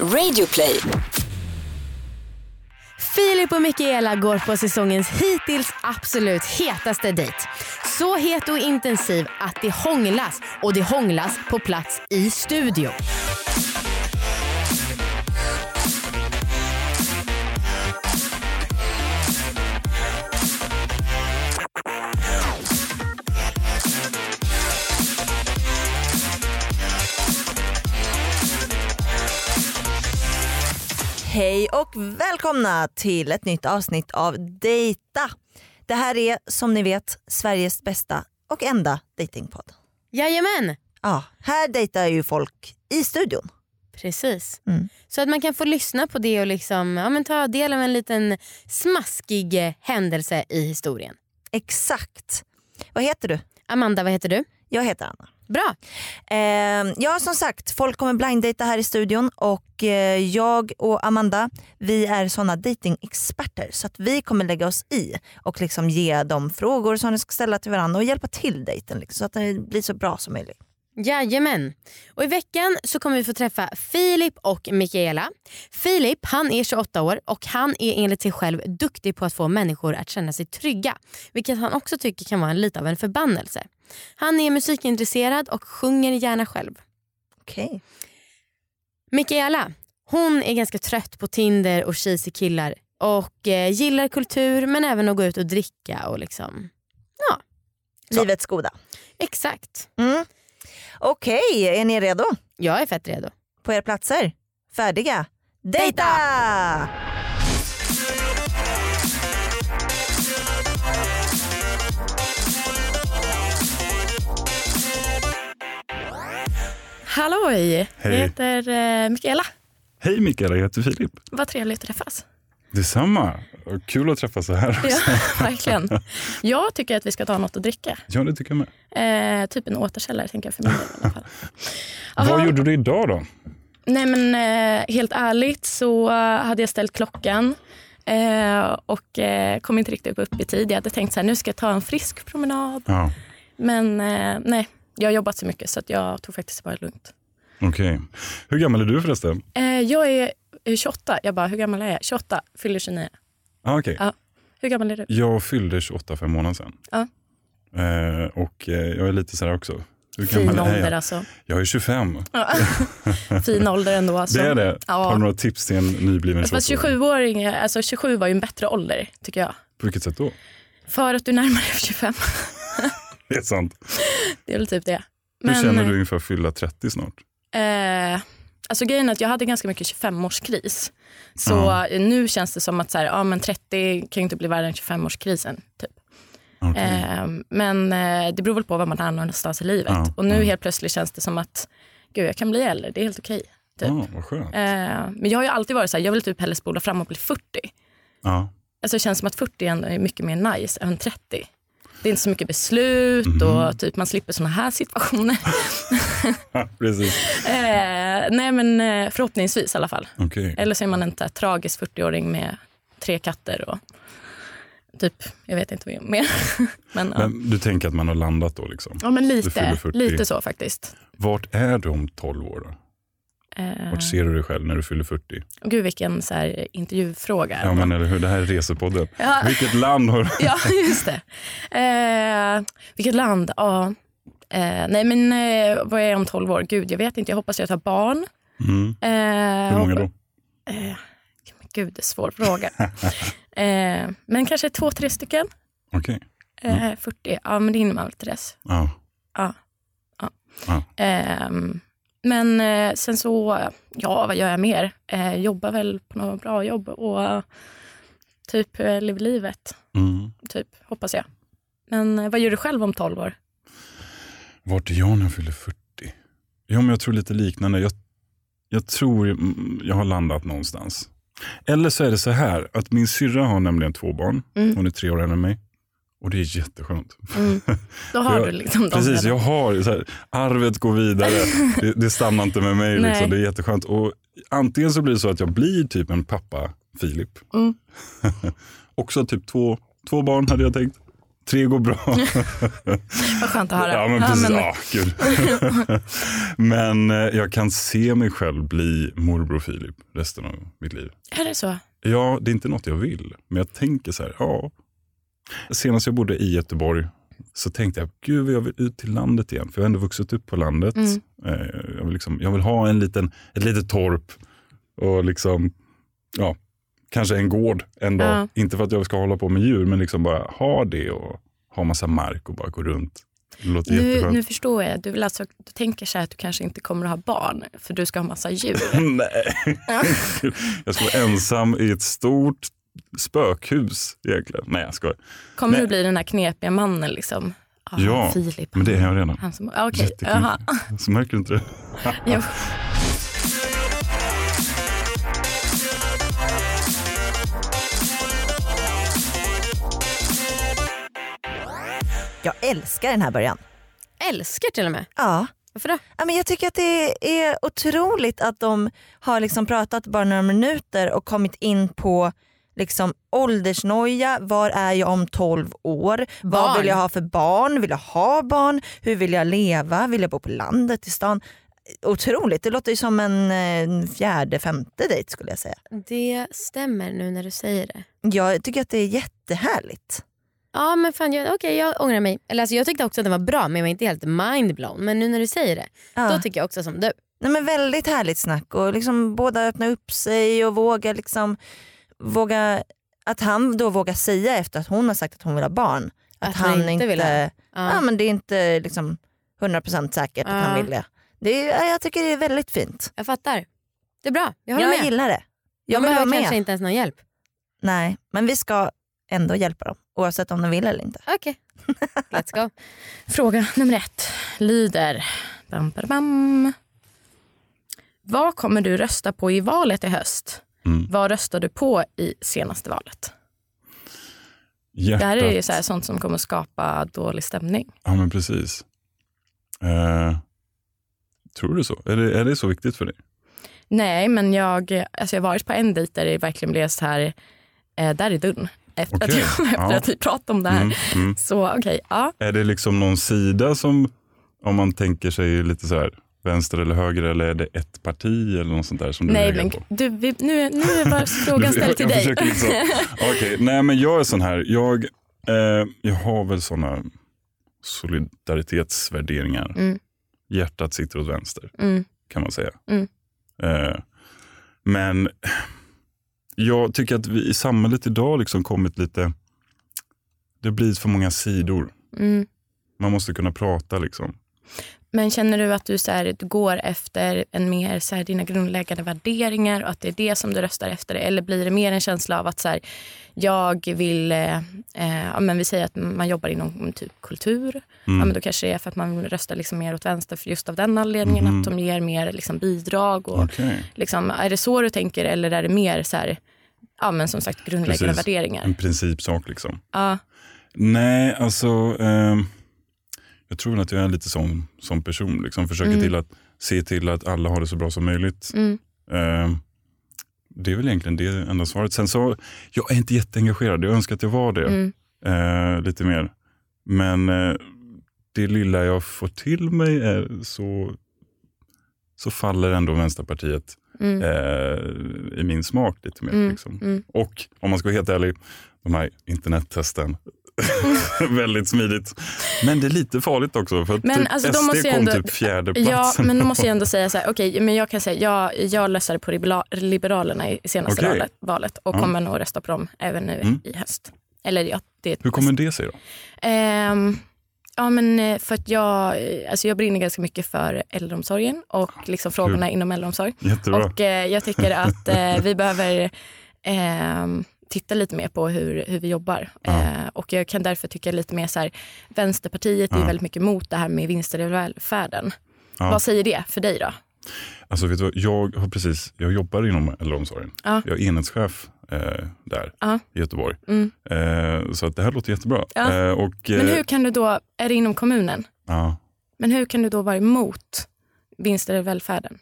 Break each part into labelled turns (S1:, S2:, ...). S1: Radioplay.
S2: Filip och Mikaela går på säsongens hittills absolut hetaste dejt. Så het och intensiv att det hånglas och det hånglas på plats i studio.
S3: Hej och välkomna till ett nytt avsnitt av Dejta. Det här är som ni vet Sveriges bästa och enda dejtingpodd.
S2: Jajamän,
S3: Ja, här dejtar ju folk i studion.
S2: precis.
S3: Mm.
S2: Så att man kan få lyssna på det och liksom, ja, men ta del av en liten smaskig eh, händelse i historien.
S3: Exakt. Vad heter du?
S2: Amanda, vad heter du?
S3: Jag heter Anna.
S2: Bra.
S3: Eh, ja som sagt, folk kommer blinddejta här i studion och eh, jag och Amanda vi är såna datingexperter så att vi kommer lägga oss i och liksom ge dem frågor som de ska ställa till varandra och hjälpa till dejten liksom, så att den blir så bra som möjligt.
S2: Jajamän. Och I veckan så kommer vi få träffa Filip och Mikaela. Filip han är 28 år och han är enligt sig själv duktig på att få människor att känna sig trygga. Vilket han också tycker kan vara en, lite av en förbannelse. Han är musikintresserad och sjunger gärna själv.
S3: Okej.
S2: Mikaela hon är ganska trött på Tinder och cheesy killar och eh, gillar kultur men även att gå ut och dricka. och liksom. Så.
S3: Livets goda.
S2: Exakt.
S3: Mm. Okej, är ni redo?
S2: Jag är fett redo.
S3: På era platser? Färdiga? Dejta!
S4: Halloj!
S5: Hej.
S4: Jag heter eh, Mikaela.
S5: Hej Mikaela, jag heter Filip.
S4: Vad trevligt att träffas.
S5: Detsamma. Och Kul att träffas så här också.
S4: Ja, verkligen. Jag tycker att vi ska ta något att dricka.
S5: Ja, det tycker jag med.
S4: Eh, typ en återställare, tänker jag för min del i alla fall.
S5: Vad
S4: Jaha.
S5: gjorde du idag då?
S4: Nej, men eh, helt ärligt så eh, hade jag ställt klockan eh, och eh, kom inte riktigt upp i tid. Jag hade tänkt så här, nu ska jag ta en frisk promenad.
S5: Ja,
S4: Men eh, nej, jag har jobbat så mycket så att jag tog faktiskt bara lugnt.
S5: okej. Hur gammal är du förresten?
S4: Eh, jag är eh, 28. Jag bara, hur gammal är jag? 28, fyller 29.
S5: Ah, okej.
S4: Ja. Hur gammal är du?
S5: Jag fyllde 28 för en månad sedan.
S4: Ja.
S5: Eh, och eh, jag är lite så här också. Hur
S4: Fin
S5: är
S4: ålder
S5: jag?
S4: alltså.
S5: Jag är 25.
S4: Ja. fin ålder ändå. Alltså.
S5: Det är det.
S4: Ja.
S5: Har du några tips till en nybliven
S4: Fast
S5: 28-åring?
S4: 27-åring, alltså 27 var ju en bättre ålder tycker jag.
S5: På vilket sätt då?
S4: För att du närmar dig 25.
S5: Det är sant.
S4: Det är väl typ det.
S5: Hur känner du inför att fylla 30 snart?
S4: Eh, alltså grejen är att jag hade ganska mycket 25-årskris. Så
S5: Ja.
S4: eh, nu känns det som att så här, ja, men 30 kan ju inte bli värre än 25-årskrisen. Typ.
S5: Okej.
S4: Eh, men eh, det beror väl på var man är någonstans i livet.
S5: Ja, Mm.
S4: Och nu
S5: ja.
S4: helt plötsligt känns det som att gud, jag kan bli äldre, det är helt okej. typ.
S5: ah, vad skönt.
S4: Eh, men jag har ju alltid varit så här, jag vill typ hellre spola fram och bli 40.
S5: Ja.
S4: Alltså, det känns som att 40 ändå är mycket mer nice än 30. Det är inte så mycket beslut
S5: Mhm.
S4: och typ, man slipper såna här situationer.
S5: Precis.
S4: eh, nej, men eh, förhoppningsvis i alla fall.
S5: Okej.
S4: Eller så är man en så här tragisk 40-åring med tre katter och typ, jag vet inte vad mer. men, ja.
S5: Men du tänker att man har landat då liksom?
S4: ja, men
S5: du fyller
S4: lite,
S5: 40.
S4: lite så faktiskt.
S5: Vart är du om 12 år? Då?
S4: Eh,
S5: Vart ser du dig själv när du fyller 40?
S4: och gud vilken så här, intervjufråga.
S5: Ja, men eller hur? Det här är Resepodden.
S4: Ja.
S5: Vilket land har du?
S4: Ja, just det. Eh, vilket land? Ja. Eh, nej, men eh, vad är jag om 12 år? Gud, jag vet inte. Jag hoppas jag tar barn.
S5: Mm.
S4: Eh,
S5: Hur många då?
S4: Eh, men gud, det är en svår fråga. eh, men kanske två, tre stycken.
S5: Okej.
S4: Eh,
S5: Mm.
S4: 40, ja men det hinner man väl till dess.
S5: Ja.
S4: Ehm, men eh, sen så, ja vad gör jag mer? Eh, jobbar väl på något bra jobb och eh, typ eh, lever livet,
S5: Mm.
S4: typ, hoppas jag. Men eh, vad gör du själv om 12 år?
S5: Vart är jag när jag fyller 40? Ja, men jag tror lite liknande. Jag, jag tror mm, jag har landat någonstans. Eller så är det så här att min syrra har nämligen två barn.
S4: Mm.
S5: Hon är tre år äldre än mig. Och det är jätteskönt.
S4: Då har
S5: Jag-
S4: du liksom dem
S5: Precis,
S4: redan.
S5: jag har, så här, arvet går vidare. Det, det stannar inte med mig.
S4: Nej.
S5: Liksom. Det är jätteskönt. Och antingen så blir det så att jag blir typ en pappa Filip.
S4: Mm.
S5: Också typ två, två barn hade jag tänkt. Tre går bra.
S4: Vad skönt att höra.
S5: Ja, men precis.
S4: men-
S5: Ja, kul. men eh, jag kan se mig själv bli morbror Filip resten av mitt liv.
S4: Är det så?
S5: Ja, det är inte något jag vill, men jag tänker så här, ja. Senast jag bodde i Göteborg så tänkte jag, gud vad jag vill ut till landet igen. För jag har ändå vuxit upp på landet.
S4: Mm.
S5: Eh, Jag, vill liksom, jag vill ha en liten, ett litet torp och liksom, ja, kanske en gård en dag.
S4: Ja.
S5: Inte för att jag ska hålla på med djur, men liksom bara ha det och ha massa mark och bara gå runt. Det låter
S4: Nu,
S5: jätteskönt.
S4: nu förstår jag. Du, vill alltså, du tänker så här att du kanske inte kommer att ha barn för du ska ha massa djur.
S5: Nej. jag ska vara ensam i ett stort spökhus egentligen. Nej, jag skojar.
S4: Kommer
S5: Nej.
S4: du bli den här knepiga mannen liksom? Ah,
S5: Ja,
S4: Filip.
S5: Men det är jag redan.
S4: Han som, ah, okej.
S5: Jättekul.
S4: Jaha.
S5: Så märker du inte det?
S4: Jo.
S3: Jag älskar den här början.
S2: Älskar till och med.
S3: Ja.
S2: Varför då?
S3: Ja, men jag tycker att det är otroligt att de har liksom pratat bara några minuter och kommit in på liksom åldersnoja, var är jag om 12 år, vad
S2: Barn.
S3: vill jag ha för barn, vill jag ha barn, hur vill jag leva, vill jag bo på landet, i stan. Otroligt, det låter ju som en eh, fjärde, femte dejt skulle jag säga.
S2: Det stämmer nu när du säger det.
S3: Jag tycker att det är jättehärligt.
S2: Ja men fan, jag, okej, jag ångrar mig. Eller, alltså, jag tyckte också att den var bra men jag var inte helt mindblown. Men nu när du säger det,
S3: Ja.
S2: då tycker jag också som du.
S3: Nej, men väldigt härligt snack och liksom båda öppnar upp sig och vågar liksom, våga, att han då vågar säga efter att hon har sagt att hon vill ha barn. Att,
S2: Att
S3: han
S2: han
S3: inte,
S2: inte vill ha.
S3: ja.
S2: Ja.
S3: men det är inte liksom 100% säkert
S2: Ja.
S3: att han vill det. det är, ja, jag tycker det är väldigt fint.
S2: Jag fattar. Det är bra, jag håller
S3: Jag
S2: med.
S3: gillar det. Jag
S2: De
S3: vill vara
S2: behöver
S3: med.
S2: kanske inte ens någon hjälp.
S3: Nej, men vi ska ändå hjälpa dem oavsett om de vill eller inte.
S2: Okej, let's go.
S4: Fråga nummer ett lyder... Bam, bam, bam. Vad kommer du rösta på i valet i höst?
S5: Mm.
S4: Vad röstade du på i senaste valet?
S5: Hjärtat.
S4: Det här är ju så här, sånt som kommer att skapa dålig stämning.
S5: Ja, men precis. Eh, tror du så? Är det, är det så viktigt för dig?
S4: Nej, men jag, alltså jag har varit på en dejt där det verkligen blev så här, eh, där är dörren. Efter, att,
S5: Okej,
S4: jag, efter
S5: ja.
S4: att vi pratade om det här.
S5: Mm, mm.
S4: Så okej, ja.
S5: Är det liksom någon sida som, om man tänker sig lite så här, vänster eller höger, eller är det ett parti eller något sånt där som du
S4: Nej,
S5: lägger
S4: men
S5: på?
S4: du, vi, nu, nu var
S5: Du-
S4: frågan ställd till
S5: jag,
S4: dig.
S5: jag försöker Liksom, Okej, Nej, men jag är sån här. Jag, eh, jag har väl såna solidaritetsvärderingar.
S4: Mm.
S5: Hjärtat sitter åt vänster.
S4: Mm.
S5: kan man säga.
S4: Mm.
S5: Eh, men jag tycker att vi i samhället idag liksom kommit lite... Det blir för många sidor.
S4: Mm.
S5: Man måste kunna prata. liksom.
S4: Men känner du att du, så här, du går efter en mer, så här, dina grundläggande värderingar och att det är det som du röstar efter? Eller blir det mer en känsla av att så här, jag vill, eh, eh, ja, men vi säger att man jobbar inom typ kultur.
S5: Mm.
S4: Ja, men då kanske det är för att man vill rösta liksom mer åt vänster för just av den anledningen
S5: Mhm.
S4: att de ger mer liksom, bidrag. Och,
S5: Okej.
S4: liksom, är det så du tänker eller är det mer så här, ja, men som sagt grundläggande
S5: Precis. Mm.
S4: värderingar?
S5: En principsak. liksom.
S4: Ja,
S5: Nej, alltså... ehm, jag tror väl att jag är lite sån som person. Liksom. Försöker
S4: Mm.
S5: till att se till att alla har det så bra som möjligt.
S4: mm,
S5: Ehm, det är väl egentligen det enda svaret. Sen så, jag är inte jätteengagerad. Jag önskar att jag var det.
S4: mm.
S5: eh, lite mer. Men eh, det lilla jag får till mig är så, så faller ändå Vänsterpartiet
S4: Mm.
S5: eh, i min smak lite mer.
S4: Mm,
S5: Liksom.
S4: mm.
S5: Och om man ska vara helt ärlig, de här internettesten. Väldigt smidigt. Men det är lite farligt också för att
S4: Men
S5: typ
S4: alltså, de
S5: SD
S4: måste ju
S5: kom
S4: ändå-
S5: typ fjärde
S4: Ja,
S5: platsen.
S4: men då måste jag ändå säga så här, okej, men jag kan säga, jag, jag röstade på Libera- Liberalerna i senaste
S5: Okej.
S4: valet, valet och
S5: Ja.
S4: kommer nog rösta på dem även nu
S5: Mm.
S4: i höst. Eller ja, det
S5: Hur kommer det sig då?
S4: Ehm, ja, men eh, för att jag, eh, alltså jag brinner ganska mycket för äldreomsorgen och liksom frågorna inom äldreomsorg.
S5: Jättebra.
S4: Och eh, jag tycker att eh, vi behöver ehm, titta lite mer på hur, hur vi jobbar.
S5: Ja.
S4: Eh, och jag kan därför tycka lite mer så här, Vänsterpartiet är
S5: Ja.
S4: väldigt mycket emot det här med vinster i välfärden.
S5: Ja.
S4: Vad säger det för dig då?
S5: Alltså, vet du vad? Jag, har precis, jag jobbar inom äldreomsorgen.
S4: Ja.
S5: Jag är enhetschef eh, där
S4: Ja.
S5: i Göteborg.
S4: Mm.
S5: Eh, så att det här låter jättebra.
S4: Ja.
S5: Eh, och, eh,
S4: Men hur kan du då, är det inom kommunen,
S5: ja.
S4: men hur kan du då vara emot vinster i välfärden?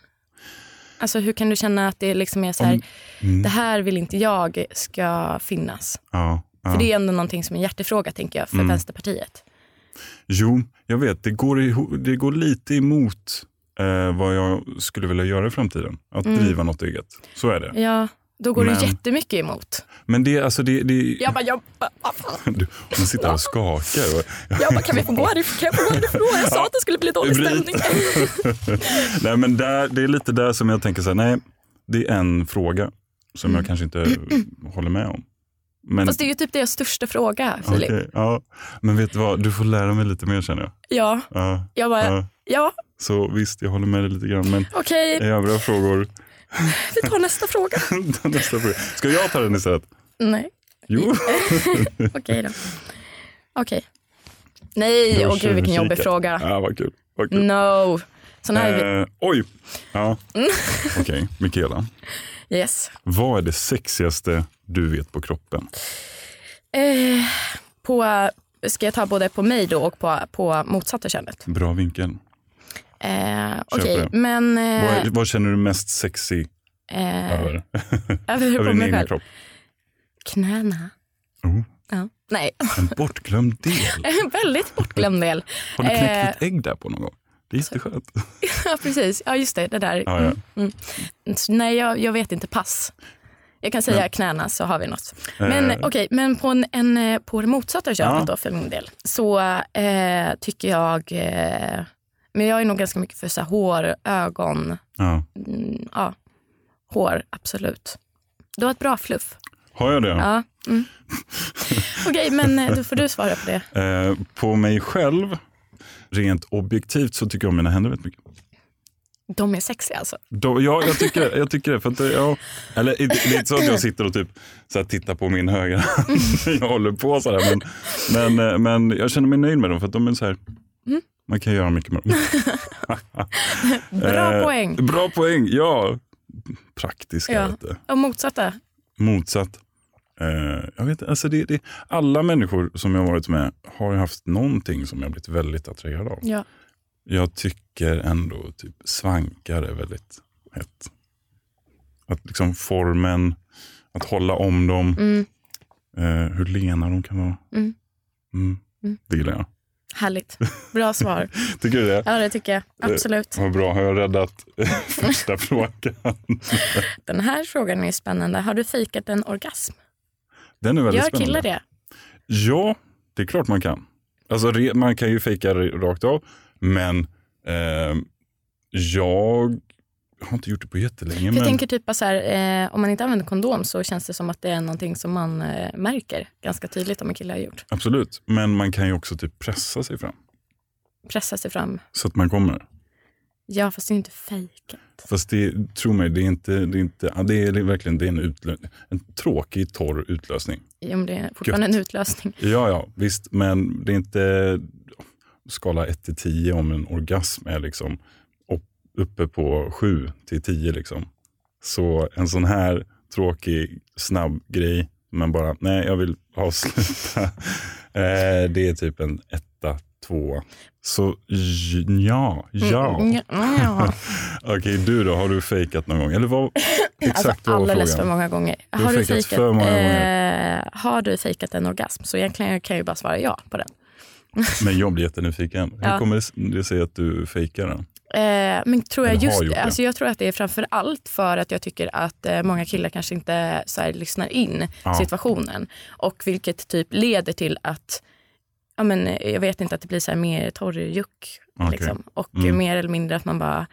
S4: Alltså hur kan du känna att det liksom är så här,
S5: Om- mm,
S4: det här vill inte jag ska finnas?
S5: ja. Ja.
S4: För det är ändå någonting som är en hjärtefråga tänker jag för
S5: Mm.
S4: Vänsterpartiet.
S5: Jo, jag vet. Det går, iho- det går lite emot eh, vad jag skulle vilja göra i framtiden. Att
S4: Mm.
S5: driva något eget. Så är det.
S4: Ja, då går
S5: Men-
S4: det jättemycket emot.
S5: Men det, alltså det, det,
S4: Jag bara, jag bara, vad fan?
S5: du, hon sitter här och skakar. Och,
S4: Jag bara, kan vi få gå härifrån? Kan jag få gå härifrån? Jag sa att det skulle bli dålig
S5: Det blir-
S4: stämning.
S5: nej, men där, det är lite där som jag tänker så här, nej, det är en fråga som jag kanske inte håller med om. Men,
S4: Mm. Fast det är ju typ deras största fråga, Filip.
S5: okej, ja. men vet du vad, du får lära mig lite mer känner jag.
S4: Ja,
S5: Ja,
S4: jag bara, ja,
S5: ja. Så visst, jag håller med dig lite grann. Men
S4: okej,
S5: i övriga frågor,
S4: vi tar nästa fråga.
S5: nästa fråga. Ska jag ta den istället?
S4: Nej,
S5: Jo.
S4: okej då. Okej. Nej,
S5: Jag
S4: åh gud vilken jobbig
S5: tjuvkikar.
S4: fråga.
S5: Ja, vad kul. Vad kul.
S4: No. Sån här, är
S5: Eh, oj! Ja. Okej, Mikaela.
S4: vi- yes.
S5: Vad är det sexigaste du vet på kroppen?
S4: Eh, på, ska jag ta både på mig då och på, på motsatta könet?
S5: Bra vinkel.
S4: Eh, Okej,
S5: Köper det.
S4: men... Eh,
S5: Vad, vad känner du mest sexy
S4: eh,
S5: över?
S4: över
S5: över
S4: på
S5: din
S4: mig
S5: egna
S4: själv.
S5: kropp?
S4: Knäna.
S5: Oh,
S4: Ja. Nej,
S5: en bortglömd del.
S4: en väldigt bortglömd del.
S5: Har du knäckt
S4: Eh. Alltså,
S5: ditt ägg där på någon gång? Det är jätteskönt.
S4: ja, precis. Ja, just det. Det där.
S5: Ja, ja.
S4: Så Nej, jag, jag vet inte. Pass. Jag kan säga knäna så har vi något. Men
S5: Eh.
S4: okej, men på, en, en, eh, på det motsatta könet
S5: Ja.
S4: då för min del så eh, tycker jag... Eh, men jag är nog ganska mycket för så här, hår, ögon.
S5: Ja.
S4: Mm, ja, hår, absolut. Du har ett bra fluff.
S5: Har jag det?
S4: Ja. Mm. Okej, men eh, då får du svara på det.
S5: Eh, på mig själv, rent objektivt, så tycker jag om mina händer väldigt mycket.
S4: De är sexiga alltså.
S5: Då, ja, jag tycker det. Jag tycker det, för att, det- ja, eller, det det är inte så att jag sitter och typ, så här, tittar på min högra hand när jag håller på så här, men, men, eh, men jag känner mig nöjd med dem för att de är så här,
S4: Mm.
S5: man kan göra mycket med dem.
S4: Bra
S5: Eh,
S4: poäng.
S5: Bra poäng, ja. Praktiska.
S4: Ja.
S5: Vet du.
S4: Och motsatta.
S5: Motsatt. Eh, jag vet, alltså det, det, alla människor som jag har varit med har ju haft någonting som jag blivit väldigt attraherad av.
S4: Ja.
S5: Jag tycker ändå typ svankar är väldigt hett. Att liksom formen, att hålla om dem,
S4: Mm.
S5: eh, hur lena de kan vara.
S4: Mm.
S5: Mm.
S4: Mm.
S5: Det gillar jag.
S4: Härligt. Bra svar.
S5: Tycker du det?
S4: Ja, det tycker jag. Absolut.
S5: Vad bra, har jag räddat första frågan?
S4: Den här frågan är spännande. Har du fejkat en orgasm?
S5: Den är väldigt
S4: Gör
S5: spännande.
S4: killar det?
S5: Ja, det är klart man kan. Alltså, re- man kan ju fejka r- rakt av, men ehm, jag har inte gjort det på jättelänge.
S4: För
S5: Men,
S4: jag tänker typ bara så här, eh, om man inte använder kondom så känns det som att det är någonting som man eh, märker ganska tydligt om en kille har gjort.
S5: Absolut, men man kan ju också typ pressa sig fram
S4: Pressa sig fram.
S5: så att man kommer.
S4: Ja, fast det är ju inte fejkat.
S5: Fast det, tro mig, det är, inte, det är, inte, ja, det är verkligen det är en, utlö- en tråkig, torr utlösning.
S4: Jo, men det är fortfarande en utlösning.
S5: Ja, ja, visst, men det är inte skala 1 till 10 om en orgasm är liksom upp, uppe på 7 till 10. Liksom. Så en sån här tråkig, snabb grej, men bara nej, jag vill avsluta. eh, det är typ en etta, tvåa. Så j- ja, ja.
S4: Mm, ja, ja.
S5: Okej, du då? Har du fejkat någon gång? Eller vad,
S4: Alltså,
S5: exakt vad var
S4: Alldeles för
S5: frågan?
S4: många gånger.
S5: har
S4: Har du,
S5: fejkat
S4: fejkat,
S5: för många
S4: eh, har du fejkat en orgasm? Så egentligen kan jag ju bara svara ja på den.
S5: Men jag blir jättenyfiken. Hur
S4: Ja.
S5: kommer det sig att du fejkar den?
S4: Eh, men tror jag,
S5: Eller har
S4: just,
S5: gjort det.
S4: Alltså jag tror att det är framför allt för att jag tycker att eh, många killar kanske inte så här, lyssnar in
S5: Ja.
S4: situationen. Och vilket typ leder till att, ja, men, eh, jag vet inte, att det blir så här mer torrjuck.
S5: Okej.
S4: Liksom. Och
S5: Mm.
S4: eh, mer eller mindre att man bara,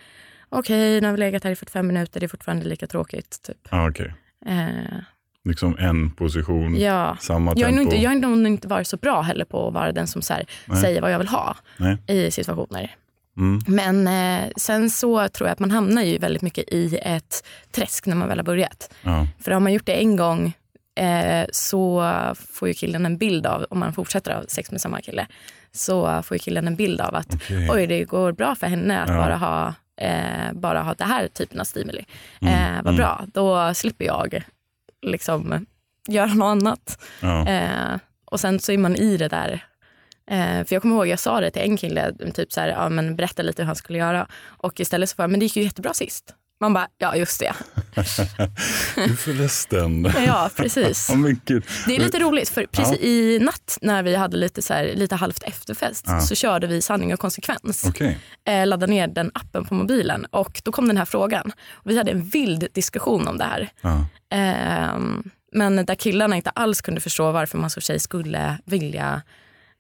S4: okej nu har vi legat här i 45 minuter, det är fortfarande lika tråkigt. Typ.
S5: Ah, Okej,
S4: Eh,
S5: liksom en position.
S4: ja.
S5: Samma
S4: Jag har nog
S5: tempo.
S4: inte, jag har nog inte varit så bra heller på att vara den som så här,
S5: Nej.
S4: säger vad jag vill ha
S5: Nej.
S4: i situationer.
S5: Mm.
S4: Men eh, sen så tror jag att man hamnar ju väldigt mycket i ett träsk när man väl har börjat.
S5: Ja.
S4: För har man gjort det en gång eh, så får ju killen en bild av, om man fortsätter ha sex med samma kille, så får ju killen en bild av att
S5: Okej.
S4: oj det går bra för henne att
S5: Ja.
S4: bara, ha, eh, bara ha det här typen av stimuli. Eh, vad
S5: mm.
S4: bra, då slipper jag liksom göra något annat.
S5: Ja.
S4: Eh, och sen så är man i det där. Eh, för jag kommer ihåg, jag sa det till en kille, typ så här, ja, men berätta lite hur han skulle göra. Och istället så var men det gick ju jättebra sist. Man bara, ja just det.
S5: Du förresten.
S4: Ja, precis.
S5: Ja, men gud.
S4: Det är lite roligt, för precis i natt när vi hade lite, så här, lite halvt efterfest
S5: Ja.
S4: så körde vi sanning och konsekvens.
S5: Okej.
S4: eh, ladda ner den appen på mobilen och då kom den här frågan. Och vi hade en vild diskussion om det här.
S5: Ja.
S4: Ehm, men där killarna inte alls kunde förstå varför man som tjej skulle vilja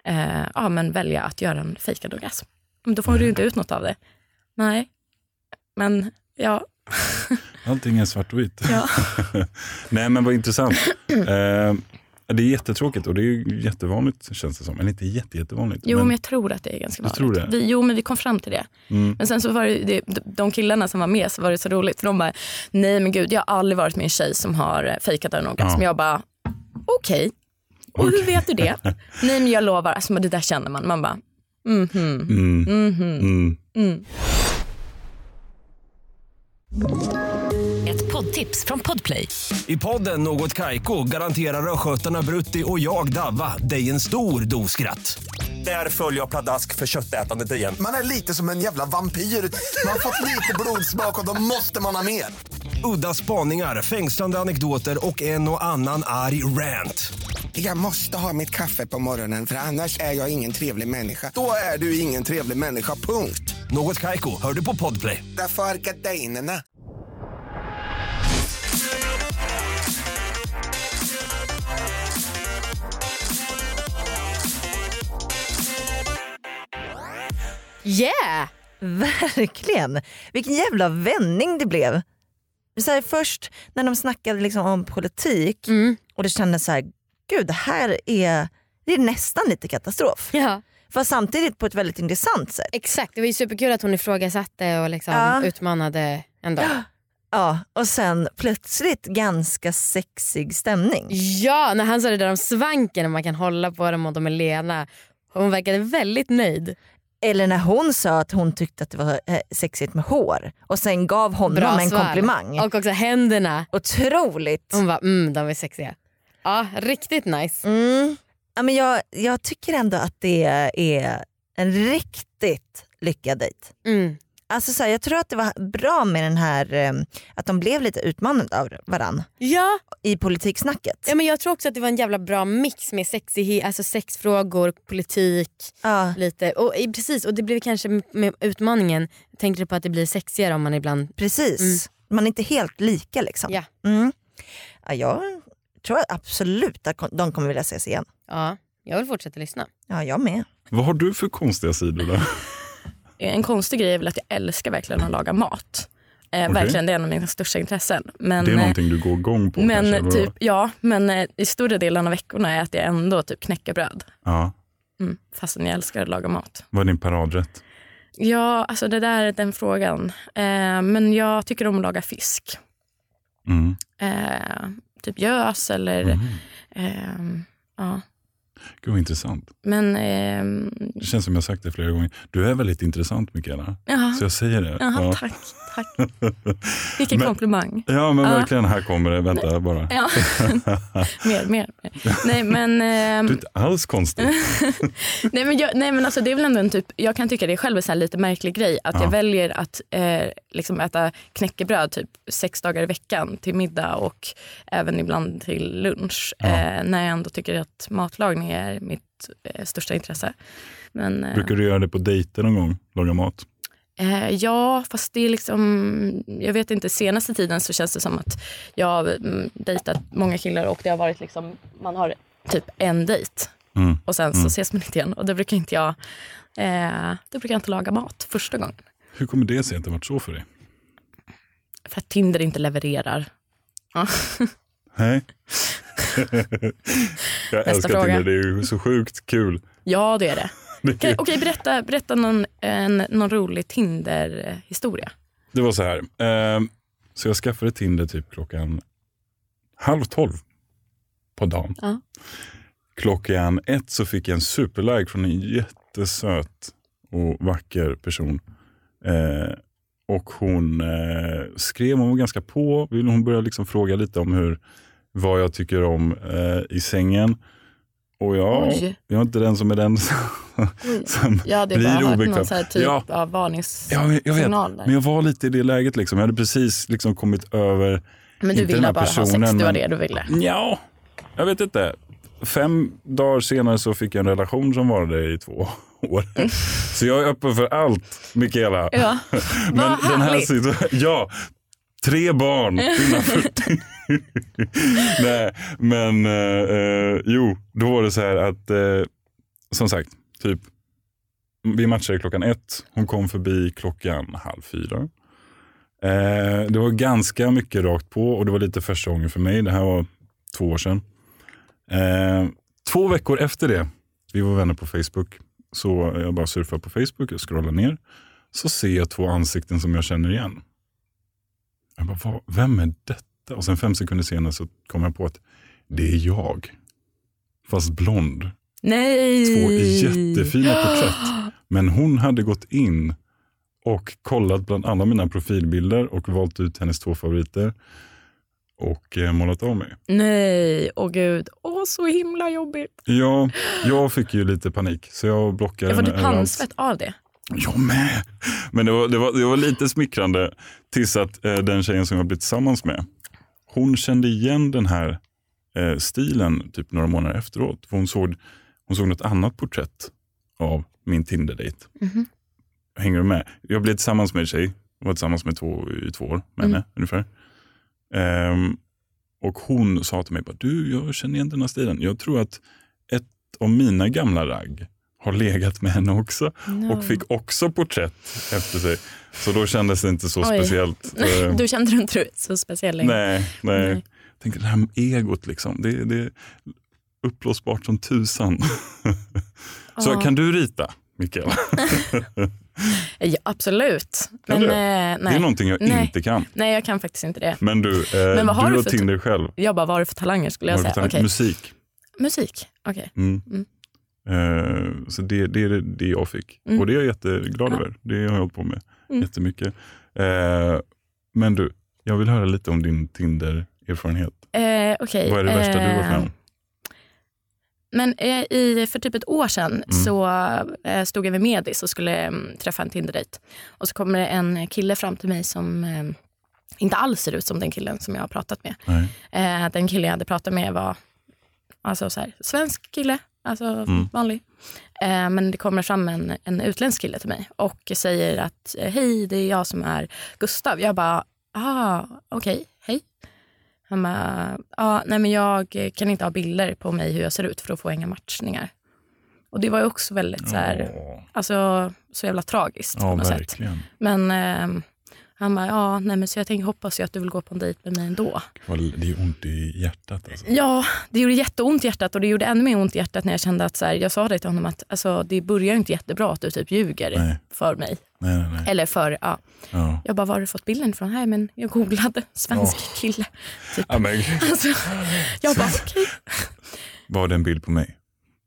S4: eh, ja, men välja att göra en fejkad orgasm. Men då får
S5: Mm.
S4: du ju inte ut något av det. Nej, men ja.
S5: Allting är svartvitt.
S4: Ja.
S5: Nej men vad intressant. Eh, det är jättetråkigt och det är ju jättevanligt känns det som. Eller inte jätte, jättevanligt.
S4: Jo, men, jag tror att det är ganska
S5: Du
S4: vanligt.
S5: tror det?
S4: Vi, jo, men vi kom fram till det.
S5: Mm.
S4: Men sen så var det, ju- det, de killarna som var med så var det så roligt. För de bara, nej men gud, jag har aldrig varit med en tjej som har eh, fejkat en orgasm.
S5: Ja.
S4: Jag bara, okej. Och hur vet du det? nej men jag lovar, alltså, men det där känner man. Man bara, mhm.
S5: Mm. Mm.
S1: Ett poddtips från Podplay.
S6: I podden Något Kaiko garanterar östgötarna Brutti och jag, Davva, dig en stor dos skratt. Där följer jag pladask för köttätandet igen.
S7: Man är lite som en jävla vampyr. Man har fått lite blodsmak och då måste man ha mer.
S6: Udda spaningar, fängslande anekdoter och en och annan arg rant.
S7: Jag måste ha mitt kaffe på morgonen för annars är jag ingen trevlig människa. Då är du ingen trevlig människa, punkt.
S6: Något Kaiko, hör du på Podplay.
S7: Därför är gardinerna.
S2: Yeah!
S3: Verkligen. Vilken jävla vändning det blev. Så här, först när de snackade liksom om politik
S2: Mm.
S3: och det kändes så här, gud det här är, det är nästan lite katastrof.
S2: Ja.
S3: Fast samtidigt på ett väldigt intressant sätt.
S2: Exakt, det var ju superkul att hon ifrågasatte och liksom
S3: Ja.
S2: utmanade ändå.
S3: Ja, och sen plötsligt ganska sexig stämning.
S2: Ja, när han sa det där om svanken och man kan hålla på dem och de är lena. Hon verkade väldigt nöjd.
S3: Eller när hon sa att hon tyckte att det var eh, sexigt med hår och sen gav honom
S2: Bra
S3: en
S2: svar.
S3: komplimang.
S2: Och också händerna.
S3: Otroligt.
S2: Hon var mm, de är sexiga. Ja, riktigt nice.
S3: Mm. Ja, men jag, jag tycker ändå att det är en riktigt lyckad dejt.
S2: Mm.
S3: Alltså så här, jag tror att det var bra med den här, eh, att de blev lite utmanade av varann
S2: Ja,
S3: i politiksnacket.
S2: ja, men jag tror också att det var en jävla bra mix med sexighet, alltså sexfrågor, politik.
S3: Ja.
S2: lite. Och, i- precis, och det blev kanske m- med utmaningen, tänkte du på att det blir sexigare om man ibland...
S3: Precis, man är inte helt lika liksom.
S2: Mm. Ja.
S3: Mm. Ja, jag tror absolut att kon- de kommer vilja ses igen.
S2: Ja, jag vill fortsätta lyssna.
S3: Ja, jag med.
S5: Vad har du för konstiga sidor då?
S4: En konstig grej är väl att jag älskar verkligen att laga mat. Eh,
S5: Okej.
S4: Verkligen, det är en av mina största intressen. Men,
S5: Det är
S4: eh,
S5: någonting du går igång på
S4: men,
S5: kanske?
S4: typ, ja, men eh, i stora delen av veckorna är att jag ändå typ knäcker bröd.
S5: Ja.
S4: Mm, fastän jag älskar att laga mat.
S5: Vad är din paradrätt?
S4: Ja, alltså det där är den frågan. Eh, men jag tycker om att laga fisk.
S5: Mm.
S4: Eh, typ gös eller...
S5: Mm.
S4: ehm, ja.
S5: Gud vad intressant.
S4: Men... ehm,
S5: Det känns som jag sagt det flera gånger. Du är väldigt intressant Mikaela.
S4: jaha,
S5: Så jag säger det.
S4: jaha,
S5: ja.
S4: tack. tack. Vilken
S5: Men-
S4: komplimang.
S5: ja men
S4: Ja. eh,
S5: verkligen, här kommer det. Vänta bara.
S4: Ja. mer, mer. mer. Nej men, ehm,
S5: Du är inte alls konstig.
S4: nej, men, jag, nej, men alltså, det är väl ändå en typ, jag kan tycka det är själv en sån här lite märklig grej att
S5: Ja.
S4: jag väljer att eh, liksom äta knäckebröd typ sex dagar i veckan till middag och även ibland till lunch.
S5: Ja.
S4: Eh, när jag ändå tycker att matlagning är mitt eh, största intresse. Men, eh,
S5: Brukar du göra det på dejter någon gång? Laga mat?
S4: Eh, ja, fast det är liksom, jag vet inte, senaste tiden så känns det som att jag har mm, dejtat många killar och det har varit liksom, man har typ en dejt
S5: Mm.
S4: och sen så ses man inte igen och då brukar inte jag, eh, då brukar jag inte laga mat första gången.
S5: Hur kommer det sig att det varit så för dig?
S4: För att Tinder inte levererar. Ja.
S5: Nej. jag älskar
S4: fråga.
S5: Tinder, det är ju så sjukt kul.
S4: Ja, det är det.
S5: Det,
S4: Okej, okej, berätta, berätta någon, en, någon rolig Tinder-historia.
S5: det var så här. Ehm, så jag skaffade Tinder typ klockan halv tolv på dagen.
S4: Ja.
S5: Klockan ett så fick jag en superlike från en jättesöt och vacker person. Eh, och hon eh, skrev, hon var ganska på. Vill- Hon började liksom fråga lite om hur, vad jag tycker om eh, i sängen. Och jag,
S4: Oj.
S5: jag är inte den som är den som,
S4: Oj.
S5: som
S4: Jag hade
S5: blir
S4: bara hört
S5: obekväm.
S4: någon så här typ
S5: Ja.
S4: av
S5: Ja, men jag vet,
S4: varningssignal där.
S5: men jag var lite i det läget. Liksom. Jag hade precis liksom kommit över...
S4: Men du
S5: inte den
S4: ville
S5: här
S4: bara ha sex,
S5: personen,
S4: det var
S5: men-
S4: det du ville.
S5: Ja, jag vet inte. Fem dagar senare så fick jag en relation som varade i två år. Så jag är öppen för allt, Mikaela.
S4: Ja.
S5: Men
S4: Vad
S5: den här
S4: härligt.
S5: situationen, ja. Tre barn innan 40. Nej, men eh, eh, jo, då var det så här att eh, som sagt, typ vi matchade klockan ett. Hon kom förbi klockan halv fyra. Eh, det var ganska mycket rakt på och det var lite första gången för mig. Det här var två år sedan. Eh, två veckor efter det, vi var vänner på Facebook, så jag bara surfar på Facebook och scrollar ner så ser jag två ansikten som jag känner igen. Jag bara, "Vad- vem är detta? Och sen fem sekunder senare så kom jag på att det är jag. Fast blond.
S4: Nej!
S5: Två jättefina porträtt. Men hon hade gått in och kollat bland alla mina profilbilder och valt ut hennes två favoriter och eh, målat av mig.
S4: Nej, åh gud. Åh, så himla jobbigt.
S5: Jag, jag fick ju lite panik så jag blockade
S4: Jag får
S5: henne
S4: typ handsvett av det.
S5: Jag med. Men det var, det, var, det var lite smickrande tills att eh, den tjejen som jag blivit tillsammans med, hon kände igen den här eh, stilen typ några månader efteråt. För hon, såg, hon såg något annat porträtt av min Tinder-dejt. Hänger du med? Jag blev tillsammans med en tjej, var tillsammans med två, i två år med henne ungefär. Ehm, och hon sa till mig, bara, du jag känner igen den här stilen. Jag tror att ett av mina gamla ragg har legat med henne också och fick också porträtt efter sig. Så då kändes det inte så
S4: Oj.
S5: speciellt. Eh,
S4: Du kände dig inte så speciell längre.
S5: nej, nej.
S4: Nej.
S5: Jag tänkte det här med egot, liksom, det, det är uppblåsbart som tusan. så
S4: Ja.
S5: kan du rita, Mikaela?
S4: Ja, absolut. Men,
S5: Kan du?
S4: eh,
S5: Det är
S4: nej.
S5: någonting jag
S4: Nej.
S5: inte kan.
S4: nej, jag kan faktiskt inte det.
S5: Men du, eh,
S4: Men vad har
S5: du
S4: du
S5: har
S4: för-
S5: Tinder själv.
S4: Jag bara, vad har du för talanger skulle jag
S5: Har du
S4: säga.
S5: talang-
S4: Okej.
S5: Musik.
S4: Musik, okej.
S5: Mm.
S4: Mm.
S5: Eh, så det, det är det- det jag fick.
S4: Mm.
S5: Och det är jag jätteglad
S4: Ja.
S5: över. Det har jag hållit på med
S4: Mm.
S5: jättemycket. Eh, men du, jag vill höra lite om din Tinder-erfarenhet.
S4: Eh, okej.
S5: Vad är det värsta du har varit
S4: Eh,
S5: med om?
S4: Men eh, i, för typ ett år sedan
S5: Mm.
S4: så eh, stod jag vid Medis och skulle mm, träffa en Tinder-dejt. Och så kommer det en kille fram till mig som eh, inte alls ser ut som den killen som jag har pratat med.
S5: Nej.
S4: Eh, den killen jag hade pratat med var alltså, så här, svensk kille, alltså
S5: Mm.
S4: vanlig. Eh, men det kommer fram en, en utländsk kille till mig och säger att eh, hej, det är jag som är Gustav. Jag bara, ah, okej, hej. Han bara, ah, nej men jag kan inte ha bilder på mig hur jag ser ut för då får jag inga matchningar. Och det var ju också väldigt så här,
S5: Åh.
S4: alltså så jävla tragiskt
S5: Ja,
S4: på något sätt.
S5: verkligen.
S4: Men ehm, han bara, ja, nej men så jag tänker hoppas ju att du vill gå på en dejt med mig ändå.
S5: Vad- Det är ont i hjärtat. Alltså.
S4: Ja, det gjorde jätteont i hjärtat och det gjorde ännu mer ont i hjärtat när jag kände att så här, jag sa det till honom att alltså, det börjar ju inte jättebra att du typ ljuger
S5: Nej.
S4: för mig.
S5: Nej, nej, nej.
S4: Eller för, ja.
S5: Ja.
S4: Jag bara, var har du fått bilden från? Nej, men jag googlade svensk kille. Typ.
S5: Ja, men,
S4: Alltså, jag bara, okej.
S5: var det en bild på mig?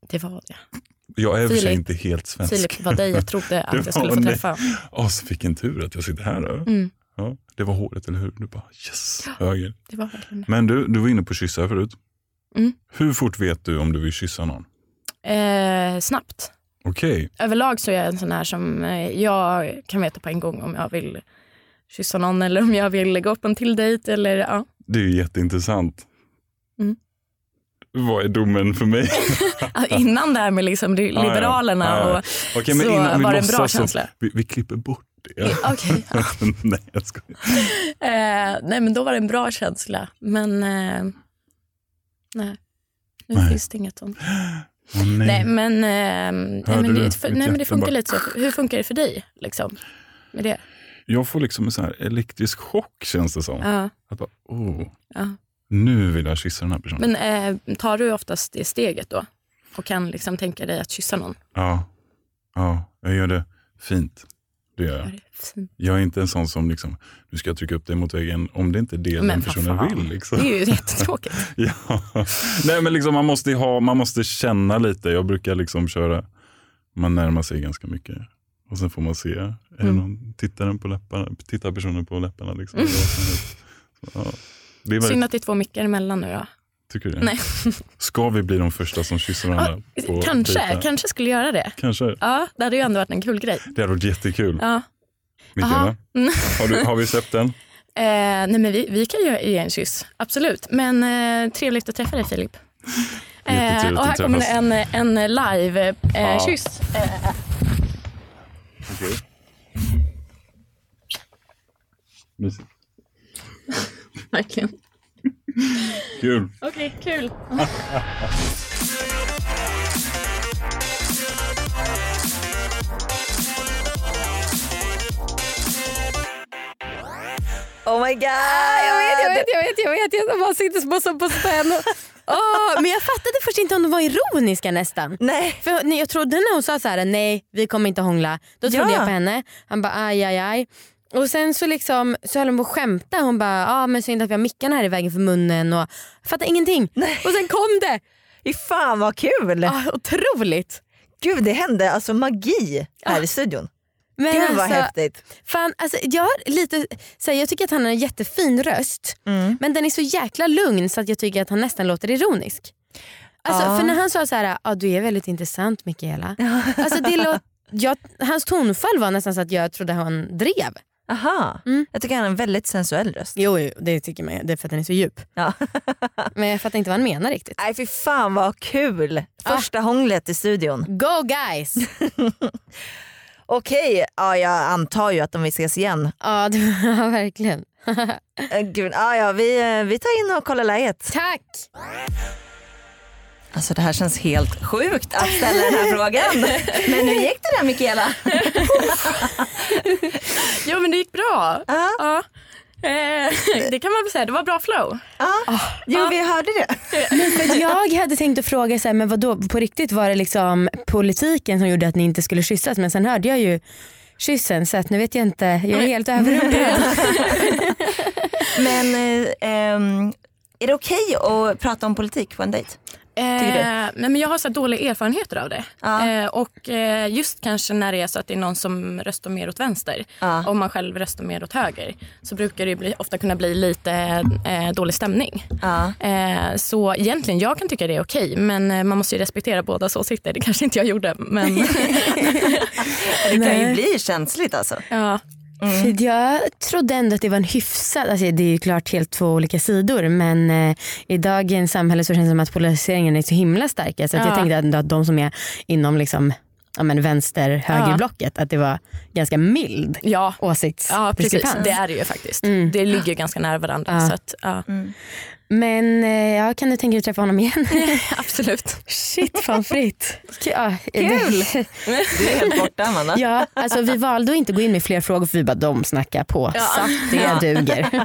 S4: Det var det.
S5: Jag är i och för sig
S4: Filip.
S5: inte helt svensk.
S4: Filip var dig jag trodde
S5: Det
S4: att jag skulle
S5: var
S4: få
S5: ni.
S4: träffa.
S5: Åh, så vilken tur att jag sitter här.
S4: Mm.
S5: Då. Ja, det var håret, eller hur? Du bara yes, höger.
S4: Det var verkligen det.
S5: Men du, du var inne på kyssar förut.
S4: Mm.
S5: Hur fort vet du om du vill kyssa någon?
S4: Eh, snabbt.
S5: Okej,
S4: överlag så är jag en sån här som eh, jag kan veta på en gång om jag vill kyssa någon eller om jag vill gå på en till dejt eller ja.
S5: det är ju jätteintressant.
S4: Mm.
S5: Vad är domen för mig?
S4: Innan det här med liksom li-
S5: Ja, ja.
S4: Liberalerna
S5: Ja, ja.
S4: och
S5: Okej, men
S4: så
S5: innan vi
S4: var det en
S5: låtsas
S4: bra
S5: så-
S4: känsla.
S5: Vi, vi klipper bort det.
S4: Okej.
S5: Nej, jag skojar.
S4: Eh, nej men då var det en bra känsla men eh, nej. Nu
S5: Nej.
S4: finns det inget sånt.
S5: Åh, nej.
S4: Nej men, eh, nej,
S5: Hörde
S4: men,
S5: du?
S4: det, för,
S5: Mitt
S4: nej, men det
S5: hjärta
S4: funkar
S5: bara-
S4: lite så. Hur funkar det för dig? Liksom, med det?
S5: Jag får liksom en sån här elektrisk chock känns det som.
S4: Ja.
S5: Att bara, oh,
S4: Ja.
S5: Nu vill jag kyssa den här personen.
S4: Men eh, tar du oftast det steget då? Och kan liksom tänka dig att kyssa någon?
S5: Ja. ja, jag gör det fint. Det gör jag. Jag är inte en sån som liksom, nu ska jag trycka upp dig mot väggen om det inte är det
S4: Men
S5: den
S4: vad
S5: personen
S4: fan.
S5: vill. Liksom.
S4: Det är ju jättetråkigt.
S5: Ja. Nej, men liksom, man, måste ju ha, man måste känna lite. Jag brukar liksom köra, man närmar sig ganska mycket. Och sen får man se, är
S4: Mm.
S5: det någon, tittar, den på läpparna, tittar personen på läpparna? Liksom, Så, ja. Det är
S4: Synd
S5: väldigt,
S4: att det är två mickar emellan nu då.
S5: Tycker du det?
S4: Nej.
S5: Ska vi bli de första som kysser varandra? på
S4: kanske,
S5: dejten?
S4: kanske skulle göra det.
S5: kanske.
S4: Ja, det hade ju ändå varit en kul grej.
S5: Det hade varit jättekul.
S4: Ja.
S5: Mikaela,
S4: Aha. Mm.
S5: har, du, har vi släppt den?
S4: Eh, nej men vi, vi kan ju ge en kyss, absolut. Men eh, trevligt att träffa dig Filip.
S5: Jättetrevligt
S4: Eh, och här
S5: att
S4: kommer det
S5: träffas.
S4: en, en live-kyss. Eh,
S5: Ja.
S4: kyss. eh,
S5: Okej. Mysigt.
S4: verkligen.
S5: Kul.
S4: Okej, kul.
S3: Oh my god!
S2: Jag vet, jag vet, jag vet, jag vet. Jag bara sitter som på spänn. Oh, men jag fattade först inte om de var ironiska nästan.
S3: Nej.
S2: För när jag trodde när hon sa så här: nej vi kommer inte hångla, då trodde
S3: Ja.
S2: jag på henne. Han bara aj aj aj. Och sen så, liksom, så höll hon på att skämta. Hon bara, ja ah, men synd att vi har mickarna här i vägen för munnen. Och, jag fattar ingenting. Och sen kom det.
S3: Fy fan vad kul!
S2: Ah, otroligt.
S3: Gud det hände alltså magi här i studion.
S2: Ah. Men
S3: Gud vad
S2: alltså,
S3: häftigt.
S2: fan, alltså, jag, har lite, så här, jag tycker att han har en jättefin röst.
S3: Mm.
S2: Men den är så jäkla lugn så att jag tycker att han nästan låter ironisk. Alltså,
S3: Ja.
S2: För när han sa så här, ah, du är väldigt intressant Mikaela. alltså, det lå- jag, hans tonfall var nästan så att jag trodde han drev.
S3: Aha.
S2: Mm.
S3: Jag tycker han har en väldigt sensuell röst.
S2: Jo, jo, det tycker man ju. Det är för att den är så djup.
S3: Ja.
S2: Men jag fattar inte vad han menar riktigt.
S3: Nej fy fan vad kul! Första hånglet i studion.
S2: Go guys! Ja,
S3: Okej, ja, jag antar ju att om vi ses igen.
S2: det var verkligen.
S3: Äh, Gud, ja, ja, vi, eh, vi tar in och kollar läget.
S2: Tack!
S3: Alltså det här känns helt sjukt att ställa den här frågan. Men nu gick det där Mikaela.
S4: Jo men det gick bra.
S3: Ja.
S4: Ja. Eh, det kan man väl säga, det var bra flow.
S3: Ja. Jo vi hörde det.
S2: För jag hade tänkt att fråga så här, men vadå, på riktigt var det liksom politiken som gjorde att ni inte skulle kyssas men sen hörde jag ju kyssen så att nu vet jag inte. Jag är helt överrumplad.
S3: Men eh, ehm, är det okej att prata om politik på en dejt? Tycker du?
S4: Eh, nej, men jag har så här dåliga erfarenheter av det.
S3: Ja.
S4: Eh, och eh, just kanske när det är så att det är någon som röstar mer åt vänster
S3: Ja.
S4: och man själv röstar mer åt höger så brukar det ju bli, ofta kunna bli lite eh, dålig stämning.
S3: Ja.
S4: Eh, så egentligen, jag kan tycka det är okej men eh, man måste ju respektera bådas åsikter. Det kanske inte jag gjorde men
S3: Det kan ju
S2: Nej.
S3: bli känsligt alltså.
S4: ja.
S2: För Jag trodde ändå att det var en hyfsad, alltså det är ju klart helt två olika sidor men eh, i dagens samhälle så känns det som att polariseringen är så himla stark. Så att jag
S4: Ja.
S2: tänkte ändå att de som är inom liksom, ja, men vänster högerblocket att det var ganska mild
S4: Ja. ja, precis.
S2: åsiktsdiskrepans.
S4: Det är det ju faktiskt.
S2: Mm.
S4: Det ligger ju ganska nära varandra. Så att, ja.
S2: men eh, ja, kan du tänka dig att träffa honom igen?
S4: Absolut.
S2: Shit fan fritt. Ja,
S3: Kul. Du är helt borta Amanda.
S2: Ja, alltså vi valde att inte gå in med fler frågor för vi bara de snackar på. Så det duger.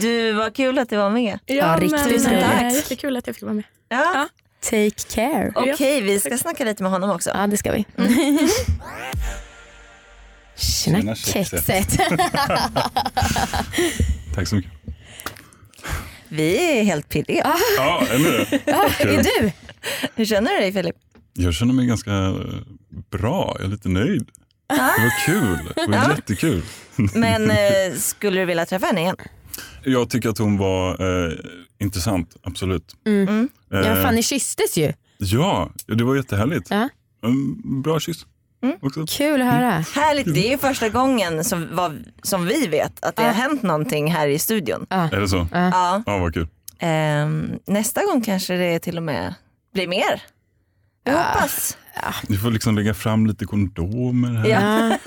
S3: Du, vad kul att du var med.
S2: Ja, riktigt
S4: men, eh,
S2: roligt.
S4: Jättekul att jag fick vara med.
S3: Ja.
S2: Take care.
S3: Okej, vi ska snacka lite med honom också.
S2: Ja det ska vi. Tjena
S5: Tjena, kexet.
S2: kexet.
S5: Tack så mycket.
S3: Vi är helt pirriga.
S5: Ja, eller hur?
S2: Är du?
S3: Hur känner du dig Filip?
S5: Jag känner mig ganska eh, bra. Jag är lite nöjd. Det var kul. Det var jättekul.
S3: Men eh, skulle du vilja träffa henne igen?
S5: Jag tycker att hon var eh, intressant, absolut.
S2: Mm. Ja
S5: Eh,
S2: fan ni kysstes ju.
S5: ja, det var jättehärligt.
S2: Ja. Mm.
S5: En bra kyss. Också.
S2: Kul att höra.
S3: Härligt, det är ju första gången som, vad, som vi vet att det har hänt någonting här i studion.
S5: Är det så? Ja,
S3: Ja.
S5: vad kul.
S3: Ehm, nästa gång kanske det till och med blir mer. Vi hoppas.
S5: Du får liksom lägga fram lite kondomer här.
S3: Ja.